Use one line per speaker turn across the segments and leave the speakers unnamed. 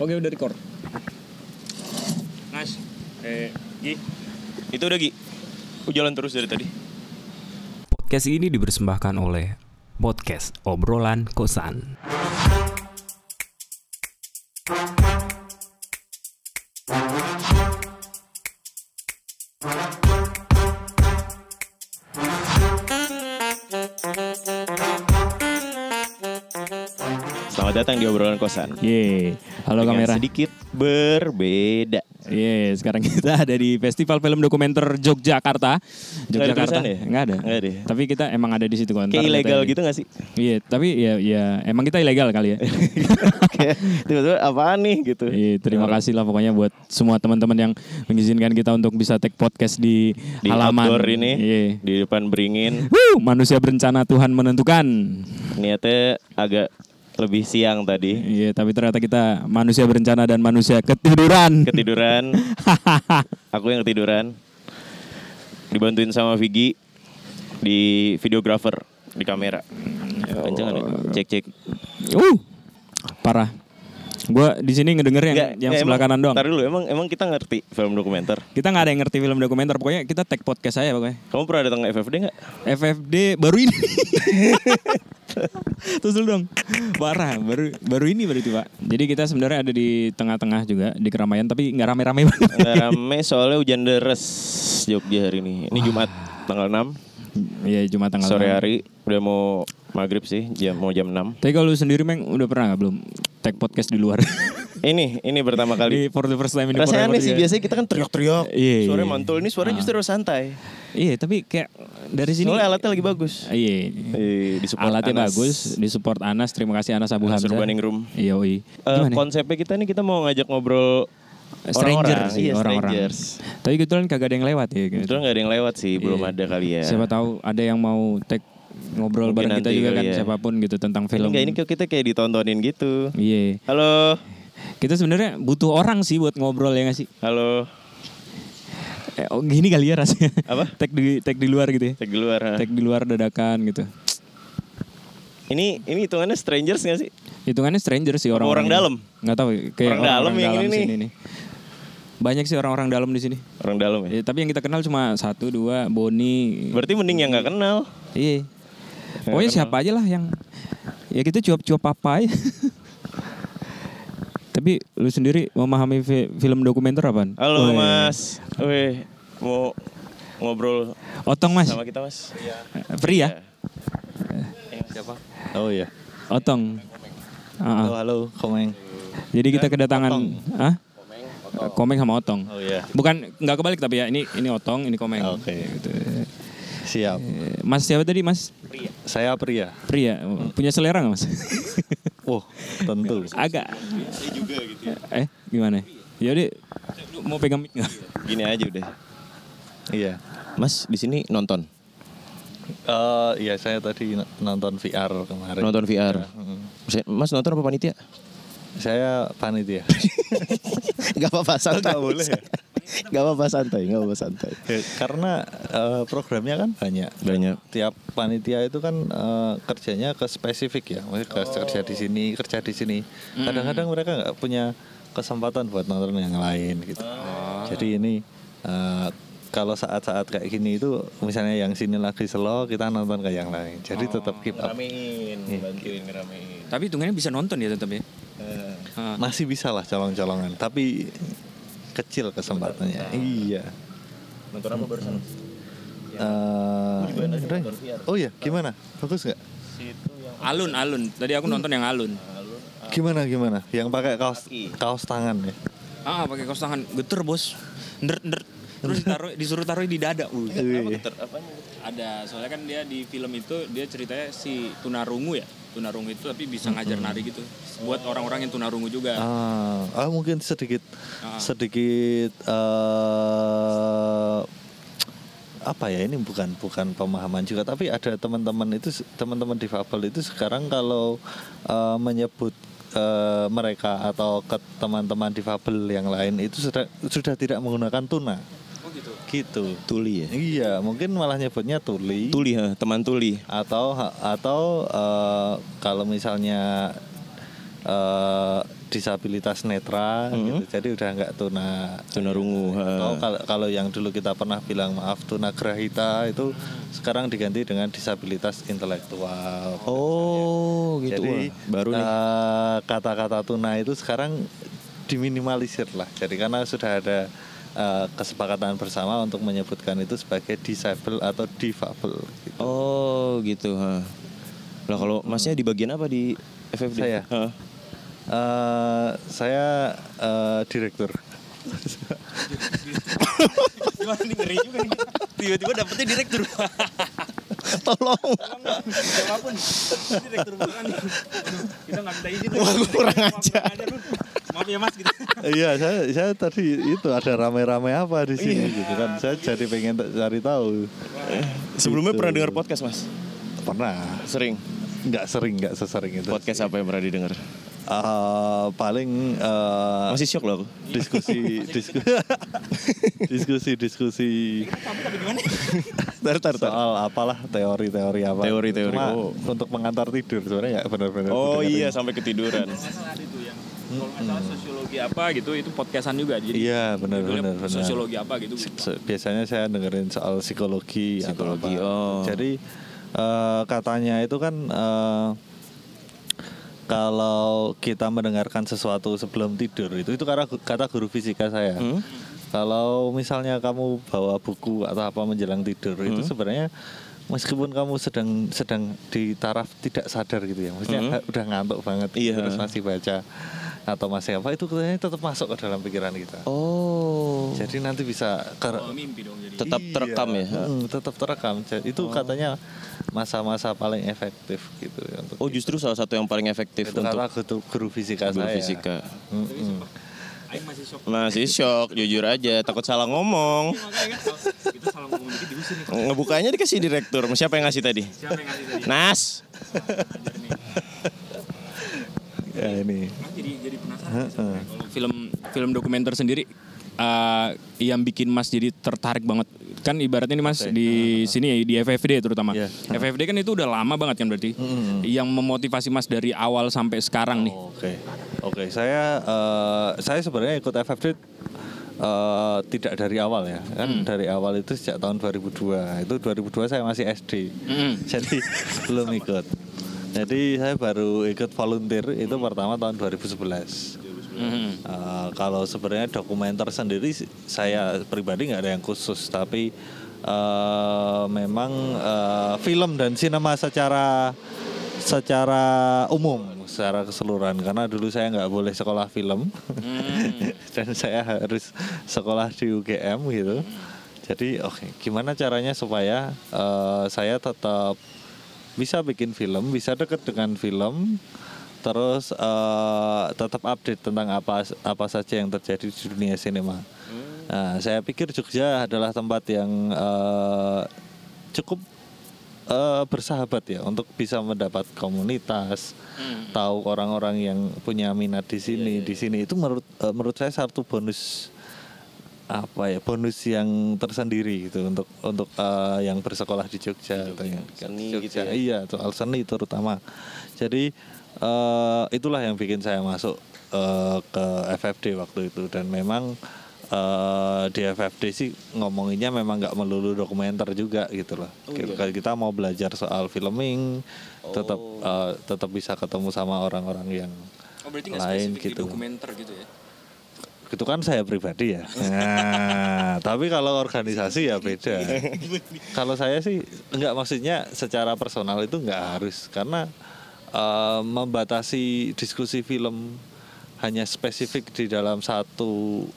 Oke udah record.
Nice. Eh, Gi. Itu udah Gi. Lu jalan terus dari tadi.
Podcast ini dipersembahkan oleh Podcast Obrolan Kosan.
Selamat datang di obrolan kosan.
Ye, halo
Dengan
kamera.
Sedikit berbeda.
Ye, sekarang kita ada di Festival Film Dokumenter Yogyakarta.
Nggak ada
Yogyakarta
tulisan ya?
Nggak ada.
Nggak ada ya?
Tapi kita emang ada di situ kan.
Kayak
Ntar
ilegal
kita-
gitu gak sih?
Iya, tapi ya ya emang kita ilegal kali ya.
Kayak tiba-tiba apaan nih gitu.
Iya, terima kasih lah pokoknya buat semua teman-teman yang mengizinkan kita untuk bisa take podcast di,
Di
halaman
outdoor ini,
Iya.
di depan beringin,
Wuh, manusia berencana Tuhan menentukan.
niatnya agak lebih siang tadi.
Iya, tapi ternyata kita manusia berencana dan manusia ketiduran.
Ketiduran, aku yang ketiduran. Dibantuin sama Vigi di videographer di kamera.
Ya
Kenceng Cek cek.
uh, parah. Gua di sini ngedenger yang,
Nggak,
yang
nggak,
sebelah
emang-
kanan doang.
Ntar dulu, emang emang kita ngerti film dokumenter.
Kita nggak ada yang ngerti film dokumenter, pokoknya kita tag podcast aja pokoknya.
Kamu pernah datang ke FFD nggak?
FFD baru ini. Terus dulu dong. Parah, baru baru ini berarti, Pak. Jadi kita sebenarnya ada di tengah-tengah juga di keramaian tapi nggak rame-rame banget.
Nggak rame soalnya hujan deres Jogja hari ini. Ini Jumat tanggal 6
Iya, cuma tanggal
sore
enam.
hari udah mau maghrib sih jam mau jam 6
Tapi kalau lu sendiri Meng udah pernah nggak belum tag podcast di luar?
Ini ini pertama
di
kali.
for the first time ini
Rasanya
forever
aneh sih
juga.
biasanya kita kan
ya.
teriak-teriak.
Iya, iya,
Suaranya
iya.
mantul ini suaranya justru santai.
Iya, tapi kayak dari sini
Soalnya alatnya lagi bagus.
Iya.
Eh, disupport
Alatnya
Anas.
bagus, di support Anas. Terima kasih Anas Abu
Anas
Hamzah.
Urbaning Room.
Iya, oi.
Eh,
Gimana?
konsepnya kita nih kita mau ngajak ngobrol
stranger
orang-orang.
sih
Iya,
orang-orang.
strangers.
Tapi kebetulan kagak ada yang lewat ya. gitu.
Kebetulan nggak ada yang lewat sih, belum
Iya.
ada kali ya.
Siapa tahu ada yang mau take ngobrol bareng
Mungkin
kita
nanti
juga
kali
kan
ya.
siapapun gitu tentang film.
Enggak ini kok kita kayak ditontonin gitu.
Iya.
Halo,
Kita sebenarnya butuh orang sih buat ngobrol ya nggak sih?
halo.
Eh, oh, gini kali ya rasanya.
Apa?
Tag di tag di luar gitu ya.
Cek di luar. ha.
Tag di luar dadakan gitu.
Ini ini hitungannya strangers gak sih?
Hitungannya stranger sih orang
Orang dalam?
Nggak tahu kayak
Orang dalam yang ini
sini
nih.
nih. Banyak sih orang-orang dalam di sini.
Orang dalam
Ya,
ya.
tapi yang kita kenal cuma satu, dua, Boni.
Berarti mending yang nggak kenal.
Iya. Pokoknya siapa aja lah yang ya kita cuap-cuap apa aja. Tapi lu sendiri memahami fi- film dokumenter apaan? Weh.
Halo Mas. Weh, mau ngobrol
Otong Mas.
sama kita Mas? Iya.
Free ya?
Siapa?
Oh iya.
Otong. Ah,
Oh,
ah.
Halo, halo, Komeng.
Jadi kita kedatangan ah? Komeng sama Otong.
Oh iya. Ah,
Bukan nggak kebalik tapi ya ini ini Otong, ini Komeng.
Oke. Siap.
Eh, Mas siapa tadi Mas?
Saya pria.
Pria. Punya selera nggak Mas?
Wah, tentu.
Agak. Eh, gimana? Jadi mau pegang mic nggak?
Gini aja udah.
Iya.
Mas di sini nonton.
Eh iya, saya tadi n- nonton VR kemarin.
Nonton VR.
Ya, mm.
Saya- Mas nonton apa panitia?
Saya panitia.
gak apa-apa santai.
nggak boleh ya?
gak apa-apa santai, gak apa-apa santai.
Ya, Karena eh, programnya kan banyak.
Banyak.
Tiap panitia itu kan eh, kerjanya ke spesifik ya. Maksudnya ke- kerja di sini, kerja di sini. Kadang-kadang mereka nggak punya kesempatan buat nonton yang lain gitu. Jadi ini eh, kalau saat-saat kayak gini itu misalnya yang sini lagi slow kita nonton ke yang lain. Jadi tetap keep up.
Ramein, bantuin ngeramein.
Tapi hitungannya bisa nonton ya tetap ya. Ah.
Masih bisa lah colong-colongan, tapi kecil kesempatannya. Iya. Hmm.
Nonton apa barusan? Ya.
Eh, Ray, oh iya, gimana? Bagus nggak?
Eh.
Alun alun. Tadi aku nonton yang alun.
Gimana gimana? Yang pakai kaos kaos tangan ya.
Ah, pakai kaos tangan. Geter, Bos. Nder nder. Terus ditaruh disuruh taruh di dada. Uh. Ada soalnya kan dia di film itu dia ceritanya si tunarungu ya. Tunarungu itu tapi bisa ngajar nari gitu. Buat orang-orang yang tunarungu juga.
Ah, ah, mungkin sedikit Ah. sedikit eh apa ya ini bukan bukan pemahaman juga tapi ada teman-teman itu teman-teman difabel itu sekarang kalau eh, menyebut eh, mereka atau ke teman-teman difabel yang lain itu sudah sudah tidak menggunakan tuna gitu
Tuli ya?
iya mungkin malah nyebutnya tuli
Tuli, ha, teman tuli.
atau atau eh, kalau misalnya eh, disabilitas netra
Hmm.
gitu. Jadi udah nggak tuna
Tunarungu, ha.
Atau kalau kalau yang dulu kita pernah bilang maaf tunagrahita itu sekarang diganti dengan disabilitas intelektual.
Oh gitu.
Jadi
Wah, baru nih.
eh, kata-kata tuna itu sekarang diminimalisir lah. Jadi karena sudah ada eh, kesepakatan bersama untuk menyebutkan itu sebagai disable atau difabel. gitu.
Oh gitu. Ha. Lah kalau masnya di bagian apa di FFD?
Saya?
Ha.
Eh, saya eh, direktur.
Gimana nih ngeri juga nih. Tiba-tiba dapetnya direktur.
Tolong.
Siapapun. Ini direktur bukan. Aduh, kita nggak minta izin.
Wah, kurang
Wah,
ajar.
Dun. Maaf ya mas gitu.
Iya, saya, saya tadi itu ada rame-rame apa di sini
Iya.
gitu kan. Saya jadi pengen t- cari tahu.
Sebelumnya
Gitu.
pernah dengar podcast mas?
Pernah,
Sering.
nggak sering, nggak sesering itu.
Podcast apa yang pernah didengar?
Eh, paling eh,
Masih shock loh aku.
diskusi disku- diskusi diskusi
Kamu tapi gimana?
Tar, tar, tar.
soal apalah teori-teori apa
Teori-teori, oh.
Cuma untuk mengantar tidur sebenarnya nggak benar-benar
Oh
mendengar
iya
ini.
sampai ketiduran.
Nggak salah ada itu yang. Kalau nggak salah sosiologi apa gitu itu podcastan juga. Jadi
iya
judulnya
benar-benar benar.
Sosiologi apa gitu.
Se- biasanya saya dengerin soal psikologi, atau
Psikologi,
apa.
oh.
Jadi eh, katanya itu kan eh, kalau kita mendengarkan sesuatu sebelum tidur itu itu karena gu- kata guru fisika saya.
Hmm?
Kalau misalnya kamu bawa buku atau apa menjelang tidur itu
Hmm?
sebenarnya meskipun kamu sedang sedang di taraf tidak sadar gitu ya, maksudnya ha- udah ngantuk banget
Hmm? Iya.
terus masih baca atau masih apa itu katanya tetap masuk ke dalam pikiran kita.
Oh.
Jadi nanti bisa ke,
Oh, mimpi dong jadi.
Tetap
Iya,
terekam ya. Oh.
mm, tetap terekam. Jadi itu katanya masa-masa paling efektif gitu ya untuk
Oh justru salah satu yang paling efektif
itu
untuk
karena guru, guru fisika
guru
saya.
fisika.
Mm-mm.
Aing masih shock.
Masih shock, jujur aja, takut salah ngomong.
Makanya kan kalau kita salah ngomong dikit diusir nih.
Ngebukanya dikasih direktur. Siapa yang ngasih tadi?
Siapa yang ngasih tadi?
Nas.
Ya ini.
Nah, jadi jadi penasaran sih sebenarnya. kalau film film dokumenter sendiri eh, yang bikin Mas jadi tertarik banget kan ibaratnya nih Mas di sini ya di FFD terutama
Iya.
FFD kan itu udah lama banget kan berarti yang memotivasi Mas dari awal sampai sekarang nih
Oke. Oke, saya eh, saya sebenarnya ikut FFD eh, tidak dari awal ya.
Hmm.
Kan dari awal itu sejak tahun 2002. Itu 2002 saya masih SD.
Mm.
Hmm.
Jadi belum ikut. Jadi saya baru ikut volunteer itu pertama tahun 2011.
Mhm.
Eh, kalau sebenarnya dokumenter sendiri s- saya pribadi nggak ada yang khusus tapi eh, memang eh, film dan sinema secara secara umum secara keseluruhan karena dulu saya nggak boleh sekolah film dan saya harus sekolah di UGM gitu jadi oke gimana caranya supaya eh, saya tetap bisa bikin film bisa deket dengan film terus eh, tetap update tentang apa apa saja yang terjadi di dunia sinema. Nah, saya pikir Jogja adalah tempat yang eh, cukup eh, bersahabat ya untuk bisa mendapat komunitas, tahu orang-orang yang punya minat di sini, di sini itu menurut eh, menurut saya satu bonus apa ya bonus yang tersendiri gitu untuk untuk eh, yang bersekolah di Jogja, katanya.
Seni
Jogja,
gitu ya.
iya soal seni terutama jadi eh, itulah yang bikin saya masuk eh, ke FFD waktu itu dan memang eh, di FFD sih ngomonginnya memang nggak melulu dokumenter juga gitu loh Gitu. Kalau kita mau belajar soal filming tetap eh, tetap bisa ketemu sama orang-orang yang
oh berarti nggak
lain
spesifik di
gitu
dokumenter gitu ya
itu kan saya pribadi ya. Nah, tapi kalau organisasi ya beda. Kalau saya sih nggak maksudnya secara personal itu nggak harus karena eh, membatasi diskusi film hanya spesifik di dalam satu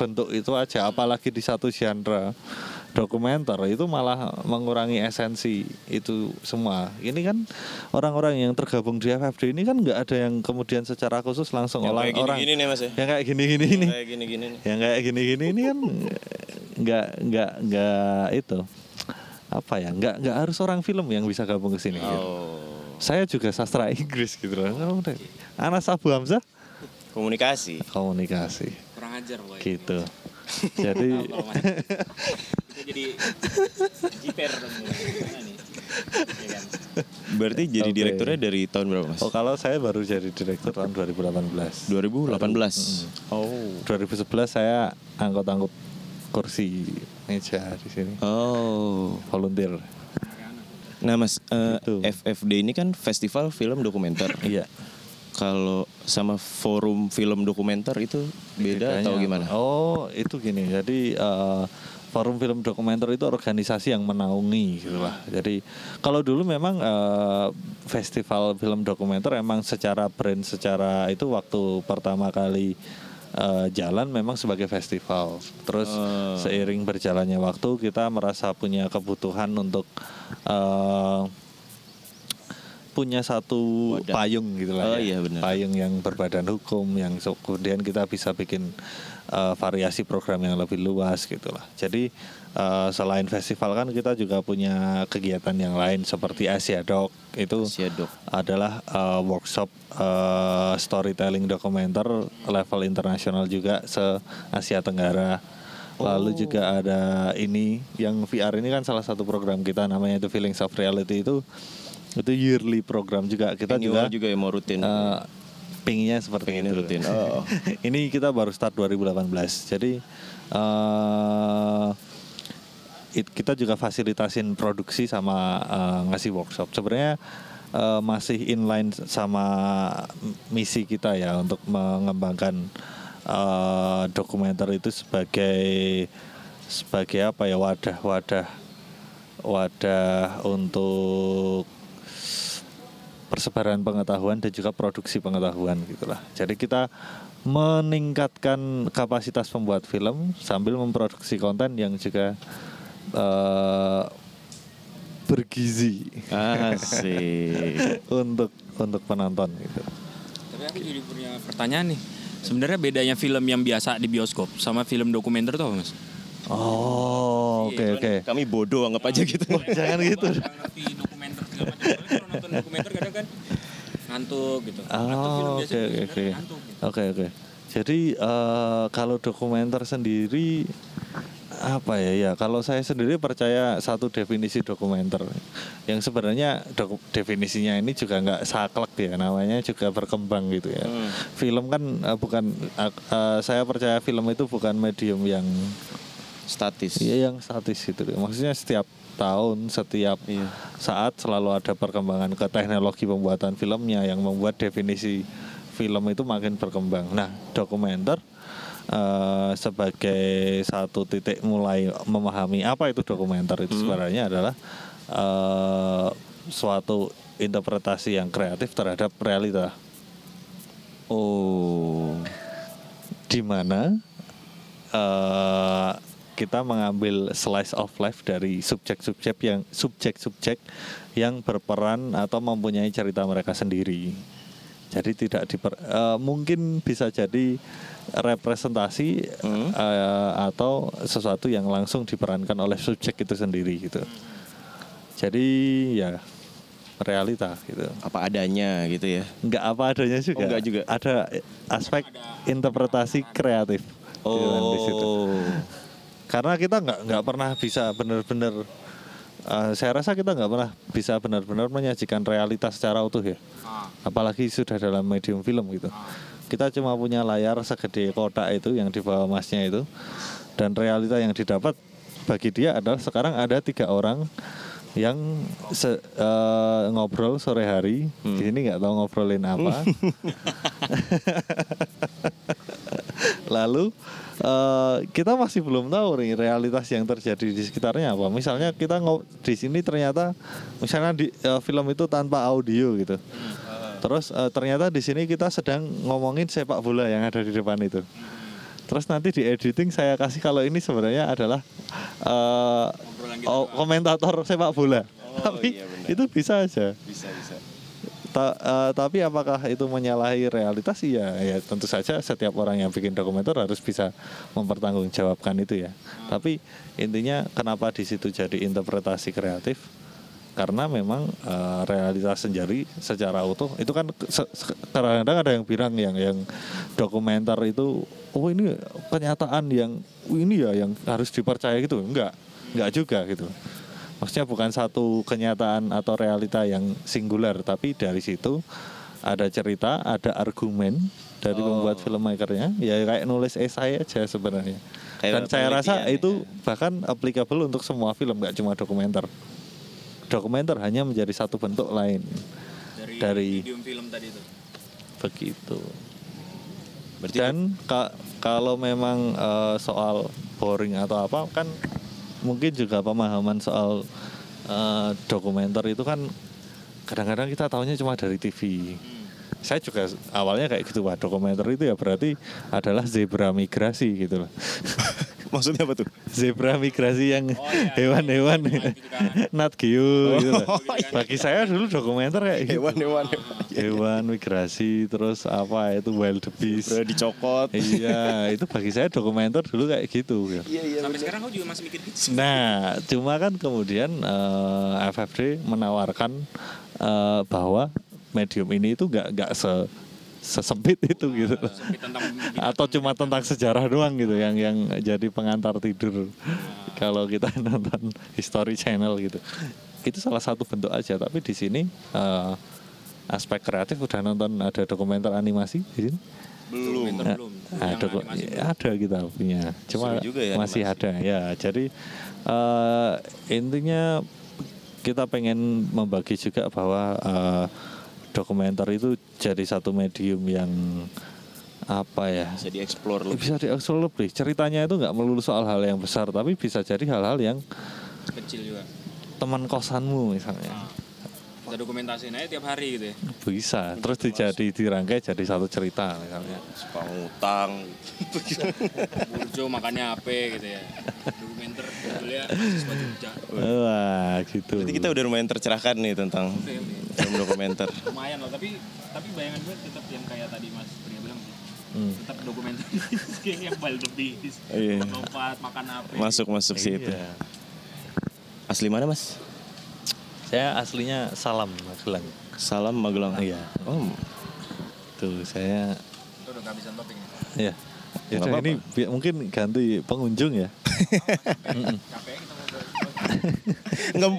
bentuk itu aja, apalagi di satu genre dokumenter itu malah mengurangi esensi itu semua. Ini kan orang-orang yang tergabung di FFD ini kan nggak ada yang kemudian secara khusus langsung
Yang kayak
orang-orang
gini-gini nih mas ya.
yang kayak gini-gini ini
Kayak gini-gini nih.
yang kayak gini-gini ini kan nggak nggak nggak itu apa ya nggak nggak harus orang film yang bisa gabung ke sini gitu.
Oh.
saya juga sastra Inggris gitu loh Ngomong deh. Anas Abu Hamzah
Komunikasi.
komunikasi
kurang ajar boy
gitu jadi oh,
Kalau Mas- kita jadi jiper dong gimana nih Ya kan?
Berarti jadi
Oke.
direkturnya dari tahun berapa mas?
Oh kalau saya baru jadi direktur tahun 2018.
2018.
Oh. 2011 saya angkut-angkut kursi meja di sini.
Oh.
Volunteer.
Nah mas, eh,
Gitu.
FFD ini kan festival film dokumenter.
Iya.
Kalau sama forum film dokumenter itu beda atau
Bedanya.
gimana?
Oh, itu gini. Jadi eh, Forum Film Dokumenter itu organisasi yang menaungi gitu lah. Jadi kalau dulu memang eh, festival film dokumenter emang secara brand secara itu waktu pertama kali eh, jalan memang sebagai festival. Terus
Oh.
seiring berjalannya waktu kita merasa punya kebutuhan untuk eh, punya satu payung gitu
Oh,
lah ya.
iya, benar.
payung yang berbadan hukum yang so- kemudian kita bisa bikin eh, variasi program yang lebih luas gitulah jadi eh, selain festival kan kita juga punya kegiatan yang lain seperti Asia Doc itu
Asia Doc.
adalah eh, workshop eh, storytelling dokumenter level internasional juga se Asia Tenggara
Oh.
Lalu juga ada ini yang VR ini kan salah satu program kita namanya itu Feelings of Reality itu itu yearly program juga kita
Annual
juga,
juga ya mau rutin.
eh, pingnya seperti
Pengennya
itu.
rutin. Oh.
ini kita baru start 2018. Jadi eh it- kita juga fasilitasin produksi sama eh, ngasih workshop. Sebenarnya eh, masih inline sama misi kita ya untuk mengembangkan eh, dokumenter itu sebagai sebagai apa ya wadah-wadah wadah untuk persebaran pengetahuan dan juga produksi pengetahuan gitulah. Jadi kita meningkatkan kapasitas pembuat film sambil memproduksi konten yang juga eh, bergizi
Ah, Asik.
Iya. untuk untuk penonton gitu.
Tapi aku jadi punya Eh, pertanyaan nih. Sebenarnya bedanya film yang biasa di bioskop sama film dokumenter tuh apa mas?
Oh, oke oke.
Kami bodoh anggap aja gitu.
Jangan gitu.
Nggak ngerti dokumenter segala macam. Soalnya kalau nonton dokumenter kadang kan ngantuk gitu. Atau film
Oh,
biasa juga
oke oke oke.
sebenarnya ngantuk. gitu.
Oke oke. Jadi eh, kalau dokumenter sendiri apa ya ya kalau saya sendiri percaya satu definisi dokumenter yang sebenarnya doku- definisinya ini juga nggak saklek ya namanya juga berkembang gitu ya
Hmm.
film kan eh, bukan eh, eh, saya percaya film itu bukan medium yang
Statis.
Iya yang statis gitu. Maksudnya setiap tahun, setiap saat selalu ada perkembangan ke teknologi pembuatan filmnya yang membuat definisi film itu makin berkembang. Nah, dokumenter eh, sebagai satu titik mulai memahami apa itu dokumenter itu sebenarnya adalah eh, suatu interpretasi yang kreatif terhadap realita
Oh.
di mana eh, kita mengambil slice of life dari subjek-subjek yang subjek-subjek yang berperan atau mempunyai cerita mereka sendiri. Jadi tidak diper, eh, mungkin bisa jadi representasi eh, atau sesuatu yang langsung diperankan oleh subjek itu sendiri gitu. Jadi ya realita gitu.
Apa adanya gitu ya.
Enggak apa adanya juga.
Oh, nggak juga.
Ada aspek interpretasi kreatif. gitu kan di situ.
Oh.
Karena kita nggak nggak pernah bisa benar-benar. eh, saya rasa kita nggak pernah bisa benar-benar menyajikan realitas secara utuh ya. Apalagi sudah dalam medium film gitu. Kita cuma punya layar segede kotak itu yang di bawah masnya itu dan realita yang didapat bagi dia adalah sekarang ada tiga orang yang se- eh, ngobrol sore hari di sini nggak tahu ngobrolin apa Lalu eh, kita masih belum tahu nih realitas yang terjadi di sekitarnya apa. Misalnya kita ngo- di sini ternyata misalnya di eh, film itu tanpa audio gitu. Terus eh, ternyata di sini kita sedang ngomongin sepak bola yang ada di depan itu. Terus nanti di editing saya kasih kalau ini sebenarnya adalah eh, oh, komentator sepak bola. Tapi itu bisa aja.
Bisa bisa.
Ta- eh, tapi apakah itu menyalahi realitas? Iya, ya tentu saja setiap orang yang bikin dokumenter harus bisa mempertanggungjawabkan itu ya. Tapi intinya kenapa di situ jadi interpretasi kreatif? Karena memang eh, realitas sendiri secara utuh itu kan se- se- kadang-kadang ada yang bilang yang yang dokumenter itu oh ini kenyataan yang ini ya yang harus dipercaya gitu. Enggak, enggak juga gitu maksudnya bukan satu kenyataan atau realita yang singular tapi dari situ ada cerita ada argumen dari
Oh.
pembuat filmmakernya ya kayak nulis esai aja sebenarnya
Kayak
dan saya rasa
penelitian
itu
ya.
bahkan applicable untuk semua film nggak cuma dokumenter dokumenter hanya menjadi satu bentuk lain
dari,
Dari-
medium film tadi itu.
begitu
Berarti
dan ka- kalau memang eh, soal boring atau apa kan mungkin juga pemahaman soal eh, dokumenter itu kan kadang-kadang kita taunya cuma dari TV.
Hmm.
Saya juga s- awalnya kayak gitu wah dokumenter itu ya berarti adalah zebra migrasi gitu loh.
maksudnya apa tuh?
zebra migrasi yang
iya,
hewan-hewan
iya, gitu kan.
Nat Geo gitu
Oh,
loh.
iya.
Bagi saya dulu dokumenter kayak gitu.
Hewan hewan.
Hewan migrasi terus apa itu wild beast.
Udah dicokot.
iya itu bagi saya dokumenter dulu kayak gitu ya.
Iya iya.
Sampai sekarang kau juga masih mikir gitu.
nah cuma kan kemudian eh, FFD menawarkan eh, bahwa medium ini itu nggak nggak se sesempit itu gitu loh.
Tapi Ah, tentang
atau cuma tentang sejarah doang gitu yang yang jadi pengantar
Ah.
tidur kalau kita nonton History Channel gitu itu salah satu bentuk aja tapi di sini eh, aspek kreatif udah nonton ada dokumenter animasi di sini
belum belum.
Ya, ada
Yang
kok
animasi
ya, ada kita punya cuma
Seru juga ya
masih
animasi.
ada ya jadi eh, intinya kita pengen membagi juga bahwa eh, dokumenter itu jadi satu medium yang apa ya
Bisa dieksplor lebih.
bisa dieksplor lebih ceritanya itu nggak melulu soal hal yang besar tapi bisa jadi hal-hal yang
kecil juga.
teman kosanmu misalnya
Kita dokumentasiin aja tiap hari gitu ya.
bisa terus dijadi dirangkai jadi satu cerita misalnya
Suka ngutang.
Burjo makannya apa gitu ya. Dokumenter judulnya siswa Jogja.
wah gitu
Berarti kita udah lumayan tercerahkan nih tentang
Oke, oke.
film dokumenter.
Lumayan loh, tapi tapi bayangan gue tetap yang kayak tadi Mas Pria bilang sih.
Hmm.
Tetap dokumenter kayak yang wild beast.
Iya.
Lompat makan apa.
Masuk masuk situ.
Iya.
Asli mana mas?
Saya aslinya Salam Magelang.
Salam Magelang.
Iya.
Oh,
Tuh saya
Itu udah kehabisan topik nih.
ya. Ya
Nggak
udah,
apa-apa.
ini bi- mungkin ganti pengunjung ya.
Capek kita ngobrol.
nggak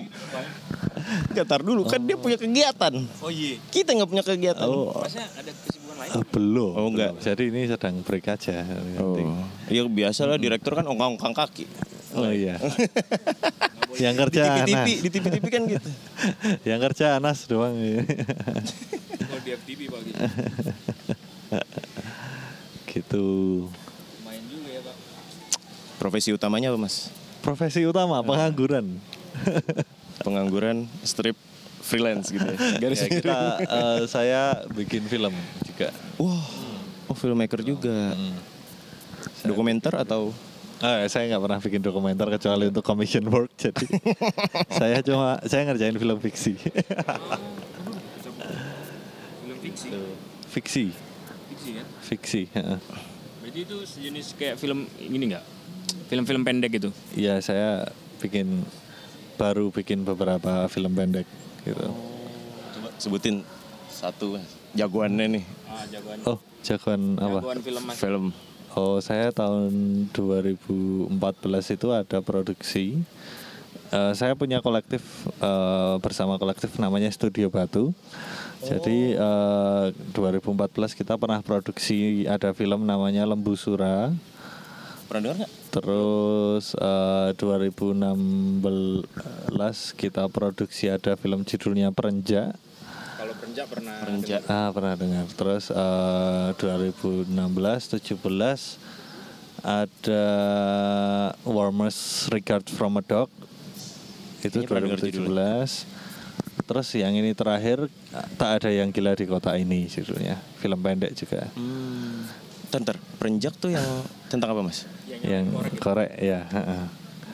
nggak, tar dulu kan dia punya kegiatan.
Oh iya.
Kita nggak punya kegiatan.
Oh,
Masnya ada kesibukan lain?
eh, belum.
Oh, enggak.
belum. Jadi ini sedang break aja. Nanti.
Oh. Ya biasa lah direktur kan ongkang-ongkang kaki.
Oh iya. yang kerja
di
Anas.
tipi-tipi, di tipi-tipi kan gitu.
yang kerja Anas doang.
Kalau di FTV Pak gitu.
gitu.
Lumayan juga ya Pak.
Profesi utamanya apa mas?
Profesi utama pengangguran.
Pengangguran, strip, freelance gitu ya. Garis
Ya, kita eh, saya bikin film juga.
Wah, oh filmmaker juga.
Hmm.
Dokumenter atau
Ah, saya nggak pernah bikin dokumenter kecuali untuk commission work jadi saya cuma saya ngerjain film fiksi
Film fiksi.
fiksi
Fiksi kan?
fiksi heeh.
Berarti itu sejenis kayak film ini nggak? Film-film pendek gitu.
Iya saya bikin baru bikin beberapa film pendek gitu
coba sebutin satu Mas. jagoannya nih
Ah, jagoan.
oh jagoan apa
Jagoan film Mas.
film.
oh saya tahun 2014 itu ada produksi Eh, saya punya kolektif eh, bersama kolektif namanya Studio Batu jadi
Oh.
eh, 2014 kita pernah produksi ada film namanya Lembu Sura
Pernah dengar nggak?
Terus eh, 2016 kita produksi ada film judulnya Perenja.
Kalau perenjak pernah.
Perenja.
Ah pernah dengar. Terus eh, 2016 17 ada Warmers Regard from a Dog. Itu
Kayaknya pernah dengar
2017. Terus yang ini terakhir tak ada yang gila di kota ini judulnya. Film pendek juga.
Tentar, perenjak tuh yang tentang apa mas?
yang korek ya. heeh.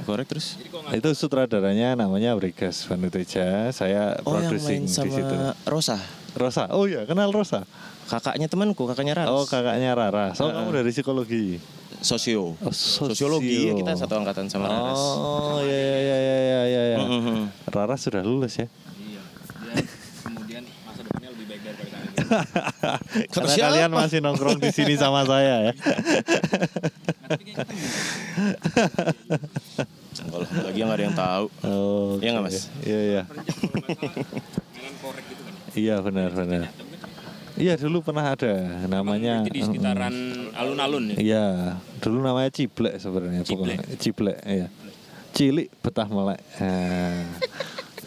Korek terus?
Itu sutradaranya namanya Brigas Vanuteja. Saya
Oh yang
producing
main
di situ.
sama Rosa,
Rosa. Oh iya, kenal Rosa.
kakaknya temanku, kakaknya Rans.
Oh, kakaknya Rara. So, kamu dari psikologi.
sosio.
Oh, sosio.
Sosiologi ya kita satu angkatan sama Hmm, Raras.
Oh, iya iya iya iya iya iya. ya.
Mm-mm.
Rara sudah lulus ya.
Iya. Dan kemudian masa depannya lebih baik daripada kami.
Karena
siapa?
kalian masih nongkrong di sini sama saya ya.
Nah, tapi kayaknya kan
Kalau lagi lagi yang nggak ada yang tahu.
Oh,
Iya nggak,
oke.
Mas?
Iya iya.
Jalan korek gitu kan.
Iya benar benar. Iya dulu pernah ada namanya.
Itu kan? di sekitaran alun-alun ya.
Iya, dulu namanya ciblek sebenarnya pokoknya. Ciblek, iya. Cilik betah melek. Eh,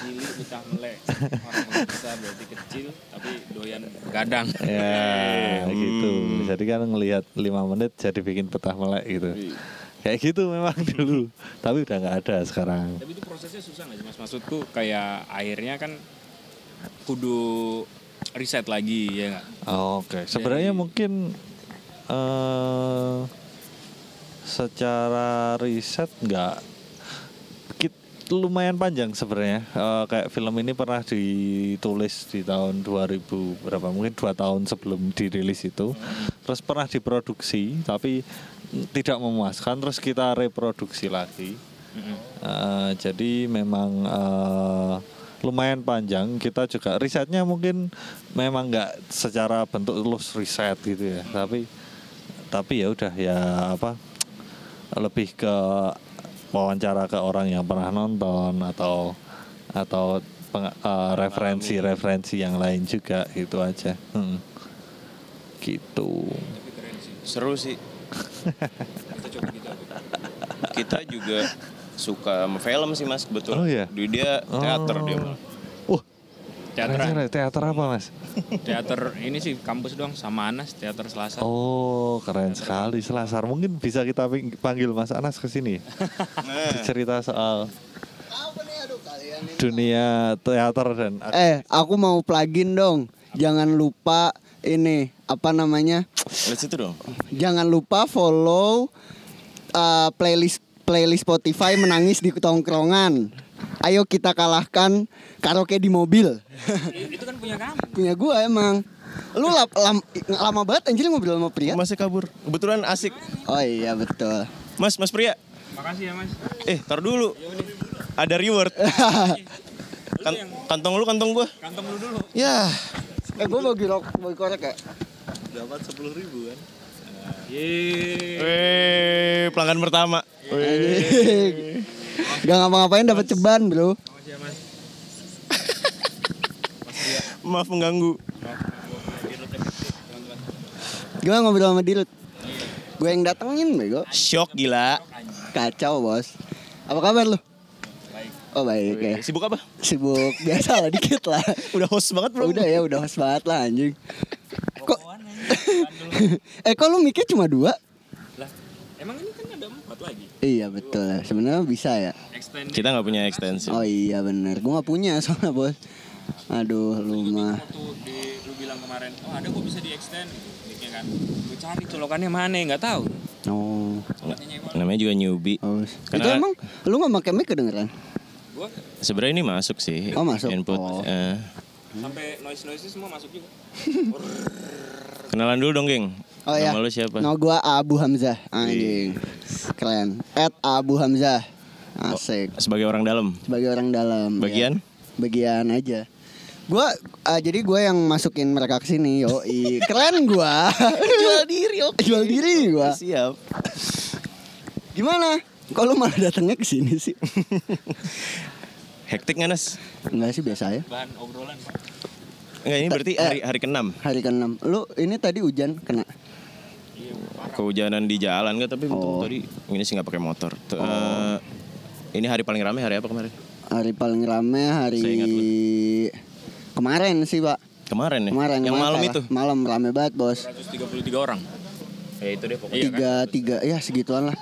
Cili betah melek. Orang besar berarti kecil tapi doyan gadang.
ya, gitu. Jadi kan ngelihat lima menit jadi bikin betah melek gitu. Kayak gitu memang dulu, tapi udah nggak ada sekarang.
Tapi itu prosesnya susah nggak sih mas? Maksudku kayak akhirnya kan kudu riset lagi ya nggak?
Oke, sebenarnya mungkin eh secara riset nggak kit- lumayan panjang sebenarnya. Eh, kayak film ini pernah ditulis di tahun 2000 berapa mungkin dua tahun sebelum dirilis itu. Terus pernah diproduksi tapi tidak memuaskan. Terus kita reproduksi lagi. Eh, jadi memang eh, lumayan panjang. Kita juga risetnya mungkin memang nggak secara bentuk lulus riset gitu ya, tapi tapi ya udah ya apa lebih ke wawancara ke orang yang pernah nonton atau atau peng- eh, referensi-referensi yang lain juga gitu aja. Mm. Gitu.
Seru sih. Kita juga suka sama film sih mas betul.
Oh, iya? Oh.
Di- Dia teater dia malah.
Uh,
Teateran.
keren-keren. teater apa, Mas?
Teater ini sih kampus doang sama Anas teater Selasa.
Oh, keren sekali Selasar. Mungkin bisa kita ping- panggil Mas Anas ke sini.
Nah.
Cerita soal dunia teater dan
Eh, aku mau plugin dong. Jangan lupa ini apa namanya?
Lihat situ dong.
Jangan lupa follow uh, playlist playlist Spotify menangis di tongkrongan. Ayo kita kalahkan karaoke di mobil.
Itu kan punya kamu.
Punya gua emang. Lu lap- lam- lama banget anjir ngobrol sama pria.
Masih kabur. Kebetulan asik.
Oh iya betul.
Mas, Mas Pria.
Makasih ya mas. Ya
Eh, tar dulu. Ada reward. Kan- kantong lu kantong gua.
Kantong lu dulu.
Ya.
eh gua mau girok, mau korek ya?
Yeay.
Weh, pelanggan pertama.
Anjing. Gak ngapa-ngapain dapat ceban, Bro.
Makasih ya mas.
Maaf mengganggu.
Gua ngobrol sama Dirut. Gue yang datengin, bego.
Shock gila.
Kacau bos. Apa kabar lu? Oh baik ya.
Sibuk apa?
Sibuk biasa lah dikit lah.
Udah host banget belum?
Udah ya udah host banget lah anjing. Kok Eh kok lu mikir cuma dua?
Lah, emang ini kan ada empat lagi.
Iya betul lah. Sebenarnya bisa ya.
Extend.
Kita nggak punya extension.
Oh iya bener. Gua nggak punya soalnya bos. Aduh lu mah.
Waktu di, lu bilang kemarin, oh ada kok bisa di extend gitu. Mic-nya kan. Gue cari colokannya mana ya nggak tahu.
Oh.
Namanya juga newbie.
Haus. Itu
Karena-
emang lu nggak pakai mic kedengeran?
Gue
Sebenarnya ini masuk sih.
Oh, masuk.
Input.
Oh.
Eh,
sampai noise noise semua masuk juga.
kenalan dulu dong, geng.
Oh iya.
Nama lu siapa?
No gua Abu Hamzah anjing. Keren. At Abu Hamzah. Asik.
Sebagai orang dalam.
sebagai orang dalam ya.
Oh. Bagian?
bagian aja gua ah, jadi gue yang masukin mereka ke sini yo keren gua jual diri jual diri gua
Siap.
gimana kok lu malah datangnya ke sini sih
Hektik nggak, Nas?
enggak sih biasa ya
Bahan obrolan.
Enggak, ini berarti
Eh,
hari hari ke-6.
hari keenam lu ini tadi hujan kena
Kehujanan di jalan nggak, tapi
Oh.
untung tadi ini sih nggak pakai motor. T- eh, ini hari paling ramai hari apa kemarin?
hari paling rame hari
Saya ingat
kemarin sih pak
Kemarin ya.
kemarin
Yang
kemarin
malam
parah.
itu.
malam rame banget bos
133 orang.
Ya itu deh pokoknya.
tiga tiga ya segituan lah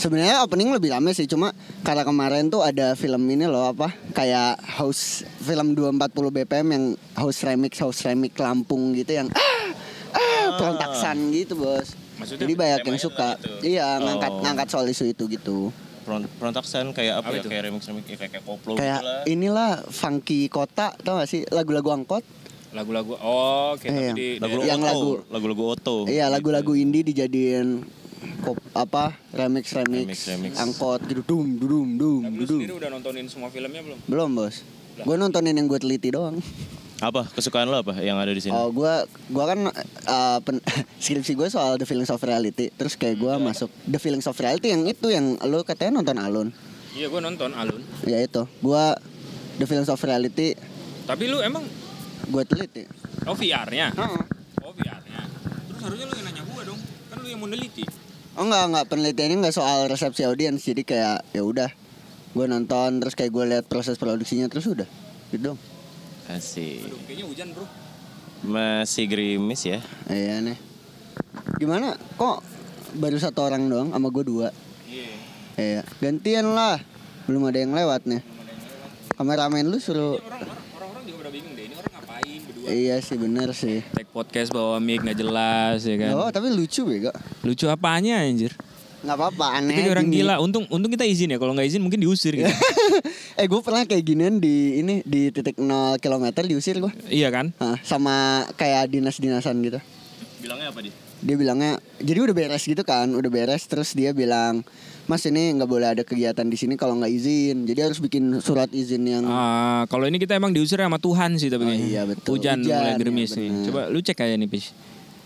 sebenarnya opening lebih rame sih cuma karena kemarin tuh ada film ini loh apa kayak house film 240 BPM yang house remix house remix Lampung gitu yang ah, ah, perontaksan gitu bos
Maksudnya
jadi banyak yang
temanya
suka
tentang itu?
iya ngangkat
Oh.
ngangkat soal isu itu gitu
Peron- Perontaksan kayak apa, ya? Kayak remix remix ya, kayak koplo
kayak
gitu lah.
inilah funky kota tau gak sih lagu-lagu angkot
Lagu-lagu. Oh, oke.
Iya.
tapi di, di-
Lagu
Yang
Oto,
lagu-
lagu-lagu Oto.
iya lagu-lagu indie dijadiin kop, apa remix
Remix,
remix,
remix.
angkot gitu dum dum dum
Tapi lu
dum
sendiri udah nontonin semua filmnya belum?
Belum bos. Gue nontonin yang gue teliti doang.
Apa kesukaan lo apa yang ada di sini?
Oh, gua gua kan uh, pen- skripsi gue soal The Feelings of Reality. Terus kayak gua masuk The Feelings of Reality yang itu yang lo katanya nonton Alun.
Iya gue nonton Alun.
Ya itu. Gua The Feelings of Reality
Tapi lu emang
gue teliti.
oh VR-nya.
Heeh.
Oh VR-nya. Terus harusnya lu yang nanya gue dong. Kan lu yang mau neliti.
Oh enggak enggak penelitiannya enggak soal resepsi audiens jadi kayak ya udah gue nonton terus kayak gue lihat proses produksinya terus udah gitu dong.
Masih
Aduh, kayaknya hujan, Bro.
masih gerimis ya.
Iya nih. Gimana kok baru satu orang doang sama gue dua?
Iya.
Iya. Gantian lah. Belum ada yang lewat nih. Kameramen lu suruh
Orang-orang orang-orang juga udah bingung deh ini orang ngapain berdua.
Iya sih bener sih.
Take podcast bawa mic nggak jelas ya kan.
Oh tapi lucu bego.
Lucu apanya anjir?
Nggak apa-apa aneh.
Kita kayak orang
gini.
gila. Untung untung kita izin ya. Kalau nggak izin mungkin diusir gitu.
eh gue pernah kayak ginian di ini di titik 0 kilometer diusir gue.
iya kan?
Hah, sama kayak dinas-dinasan gitu.
Bilangnya apa dia?
dia bilangnya jadi udah beres gitu kan udah beres terus dia bilang mas ini nggak boleh ada kegiatan di sini kalau nggak izin jadi harus bikin surat izin yang
Ah, kalau ini kita emang diusir sama Tuhan sih tapi
Oh,
kayaknya.
iya, betul.
Hujan,
Hujan,
mulai
iya,
gerimis nih.
benar.
Coba lu cek aja nih, Pis.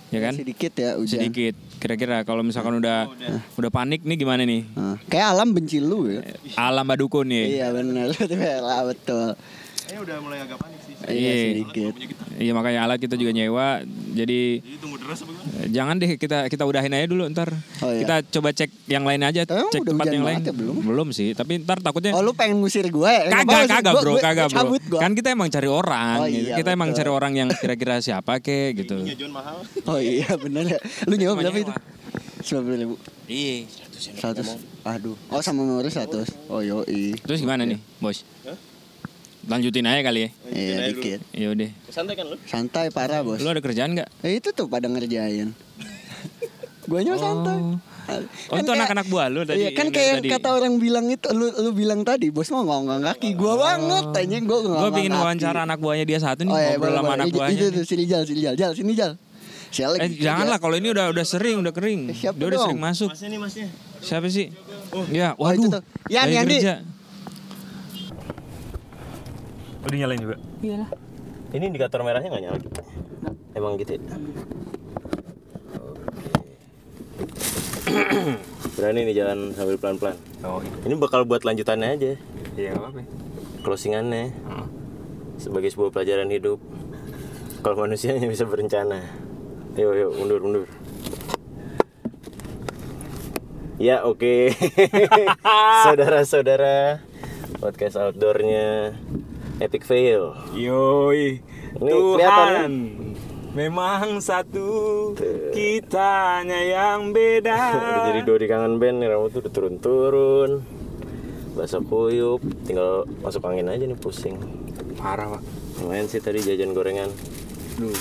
Ya kan?
sedikit ya hujan
Sedikit. Kira-kira kalau misalkan udah udah panik nih gimana nih?
Ah, kayak alam benci lu
Iya,
ya
Alam badukun nih.
iya benar lah betul
Eh udah mulai agak panik sih.
iya sedikit
Iya makanya alat kita juga nyewa. Jadi
Jadi tunggu deras apa gimana?
eh, jangan deh kita kita udahin aja dulu ntar.
Oh, iya.
Kita coba cek yang lain aja,
Tapi emang
cek
udah
tempat
hujan
yang lain.
banget ya, belum?
sih, tapi ntar takutnya
oh lu pengen ngusir gue ya? Nggak
Kagak,
apa-apa sih,
kagak
gua-
bro,
gua-
kagak
gua
bro.
cabut gua.
Kan kita emang cari orang,
Oh,
gitu.
iya,
kita emang
betul.
cari orang yang kira-kira siapa kek gitu.
Jajuan mahal.
oh iya benar ya lu nyewa
Cuma
berapa
nyewa.
itu sembilan puluh ribu
Iya.
seratus aduh oh sama memori seratus oh yoi
Terus gimana nih, bos? Lanjutin aja kali ya.
iya dikit
Ya udah.
Santai kan lu?
santai parah bos
Lu ada kerjaan nggak?
Eh, itu tuh pada ngerjain. Guanya santai. Kan
Oh, itu
kayak-
anak-anak buah lu tadi,
Iya, kan
yang
kayak
tadi.
kata orang bilang itu lu lu bilang tadi, bos mau ngongong kaki. Gua banget tanya gua ngongong.
Gue pingin
kaki.
wawancara anak buahnya dia satu nih,
Oh, iya,
ngobrol
boleh,
sama
boleh.
anak
Itu-
buahnya.
Itu, itu, sini jal, sini jal, jal, sini jal. Sial lagi.
Eh
kerja.
janganlah kalau ini udah udah sering, udah kering.
Eh, siapa
Dia udah
dong?
sering masuk.
Masnya nih masnya.
Siapa sih? Ya,
Oh, itu
waduh.
tuh. Yan,
lagi
Yan, Di.
kerja.
Udah nyalain juga.
Iyalah,
Ini indikator merahnya nggak nyala gitu. Emang gitu. ya? Oke. Berani nih jalan sambil pelan-pelan.
Oh,
Ini bakal buat lanjutannya aja,
iya Hmm. apa?
closingannya. Sebagai sebuah pelajaran hidup. Kalau manusia hanya bisa berencana. Yuk, yuk, mundur, mundur. Ya, oke. Saudara-saudara, podcast outdoornya Epic Fail.
Yoi.
Ini kelihatan,
Memang satu kitanya yang beda.
Udah jadi Dori kangen band nih rambut tuh udah turun-turun Basah kuyup Tinggal masuk angin aja nih pusing
Parah, Pak.
Lumayan sih tadi jajan gorengan
Duh.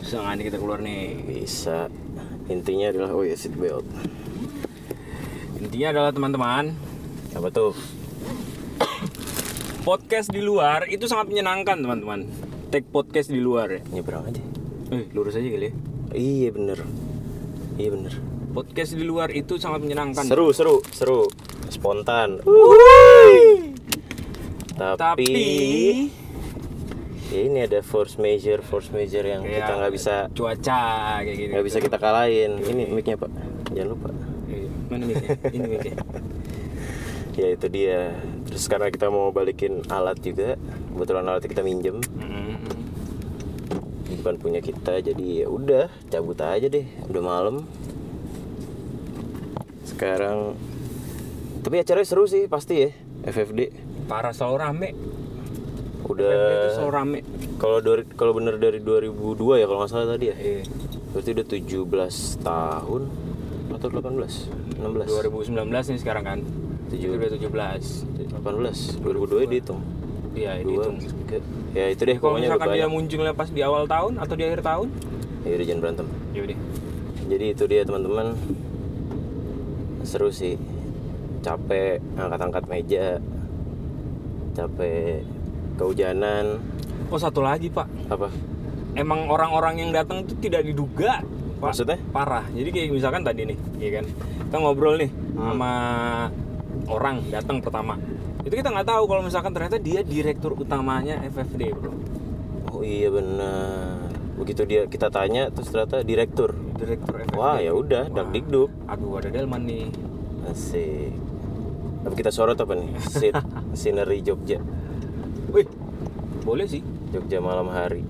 Bisa nggak nih kita keluar nih?
Bisa Intinya adalah oh ya seat belt
Intinya adalah teman-teman,
Apa tuh?
podcast di luar itu sangat menyenangkan, teman-teman. Take podcast di luar ya.
Nyebrang aja
Eh, lurus aja kali ya.
Iya bener Iya bener
Podcast di luar itu sangat menyenangkan.
Seru seru seru Spontan Tapi,
Tapi
ya ini ada force major force major yang
Iya.
kita nggak bisa
ya, cuaca kayak gitu.
nggak bisa kita kalahin ini micnya pak jangan lupa
Iya. Mana mic Ini mic
ya itu dia terus karena kita mau balikin alat juga kebetulan alat kita minjem bukan punya kita jadi ya udah cabut aja deh udah malam sekarang tapi acaranya seru sih pasti ya FFD
Parah selalu rame. Itu selalu
udah
rame.
kalau dari kalau bener dari 2002 ya kalau nggak salah tadi ya
Iya.
berarti udah 17 tahun atau 18 16
2019 nih sekarang kan.
Tujuh.
Itu udah 17.
18 2002 ya dihitung
Iya,
dua
dihitung.
tiga. ya itu deh
Kalau
pokoknya udah
misalkan dia
banyak
munculnya pas di awal tahun atau di akhir tahun,
ya udah jangan berantem
ya udah.
jadi itu dia teman-teman seru sih capek angkat-angkat meja capek kehujanan
Oh satu lagi pak,
apa
emang orang-orang yang datang tuh tidak diduga. Pak.
Maksudnya?
Parah. Jadi kayak misalkan tadi nih, iya kan? Kita ngobrol nih
Hmm.
sama orang datang pertama. Itu kita nggak tahu kalau misalkan ternyata dia direktur utamanya FFD bro.
Oh iya benar. Begitu dia kita tanya terus ternyata direktur.
direktur FFB.
Wah, ya udah, dakdikduk.
Aduh, ada delman nih.
Asik. Tapi kita sorot apa nih? Sin Sineri Jogja.
Wih, boleh sih.
Jogja malam hari.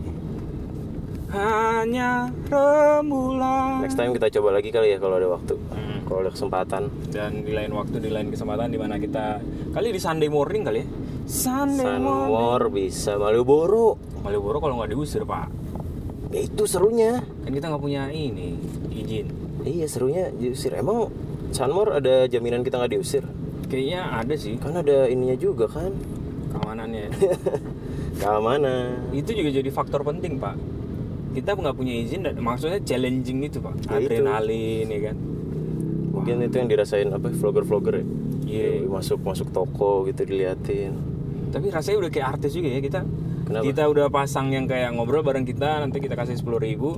Hanya rembulan.
Next time kita coba lagi kali ya kalau ada waktu. Kalau ada kesempatan.
Dan di lain waktu, di lain kesempatan di mana kita kali di Sunday morning kali ya. Sunday morning.
Sanwar bisa Malioboro.
Malioboro kalau nggak diusir pak,
Ya itu serunya.
kan kita nggak punya ini izin.
Iya serunya diusir. Emang Sanmor ada jaminan kita nggak diusir?
Kayaknya ada sih
Kan ada ininya juga kan?
keamanannya.
Keamanan.
itu juga jadi faktor penting pak. Kita nggak punya izin, dan- maksudnya challenging itu pak,
Ya itu.
adrenalin ya kan.
Mungkin itu yang dirasain apa vlogger-vlogger ya?
Iya.
Masuk masuk toko gitu diliatin.
Tapi rasanya udah kayak artis juga ya kita.
Kenapa?
Kita udah pasang yang kayak ngobrol bareng kita, nanti kita kasih sepuluh ribu.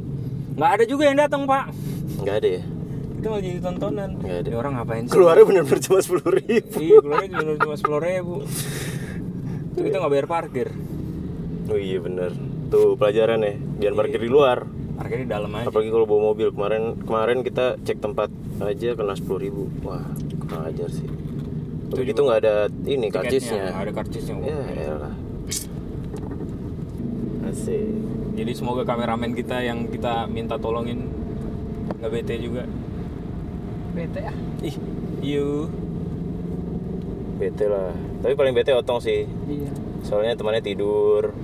Nggak ada juga yang datang pak.
Nggak ada ya?
Kita malah jadi tontonan.
Nggak ada.
Ini orang ngapain sih?
Keluarnya bener-bener cuma sepuluh ribu.
Iya keluarnya cuma- cuma sepuluh ribu. Itu kita nggak bayar parkir.
Oh iya bener. Tuh pelajaran ya.
Iya.
Jangan parkir di luar.
Parkir di dalam aja.
Apalagi kalau bawa mobil kemarin kemarin kita cek tempat aja kena sepuluh ribu. Wah kurang ajar sih. Tapi itu nggak ada ini
Tiketnya,
karcisnya.
Ada karcisnya. Pak.
Ya elah. Asik.
Jadi semoga kameramen kita yang kita minta tolongin nggak bete juga. Bete ah. Ih, you.
Bete lah. Tapi paling bete otong sih.
Iya.
Soalnya temannya tidur.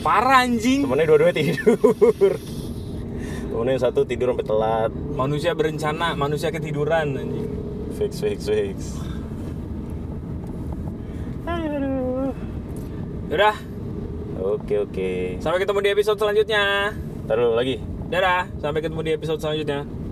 Parah anjing.
Temannya dua-duanya tidur. temannya yang satu tidur sampai telat.
Manusia berencana, manusia ketiduran anjing.
Fix fix fix.
Yaudah,
Oke oke.
sampai ketemu di episode selanjutnya.
Taruh lagi.
Dadah, sampai ketemu di episode selanjutnya.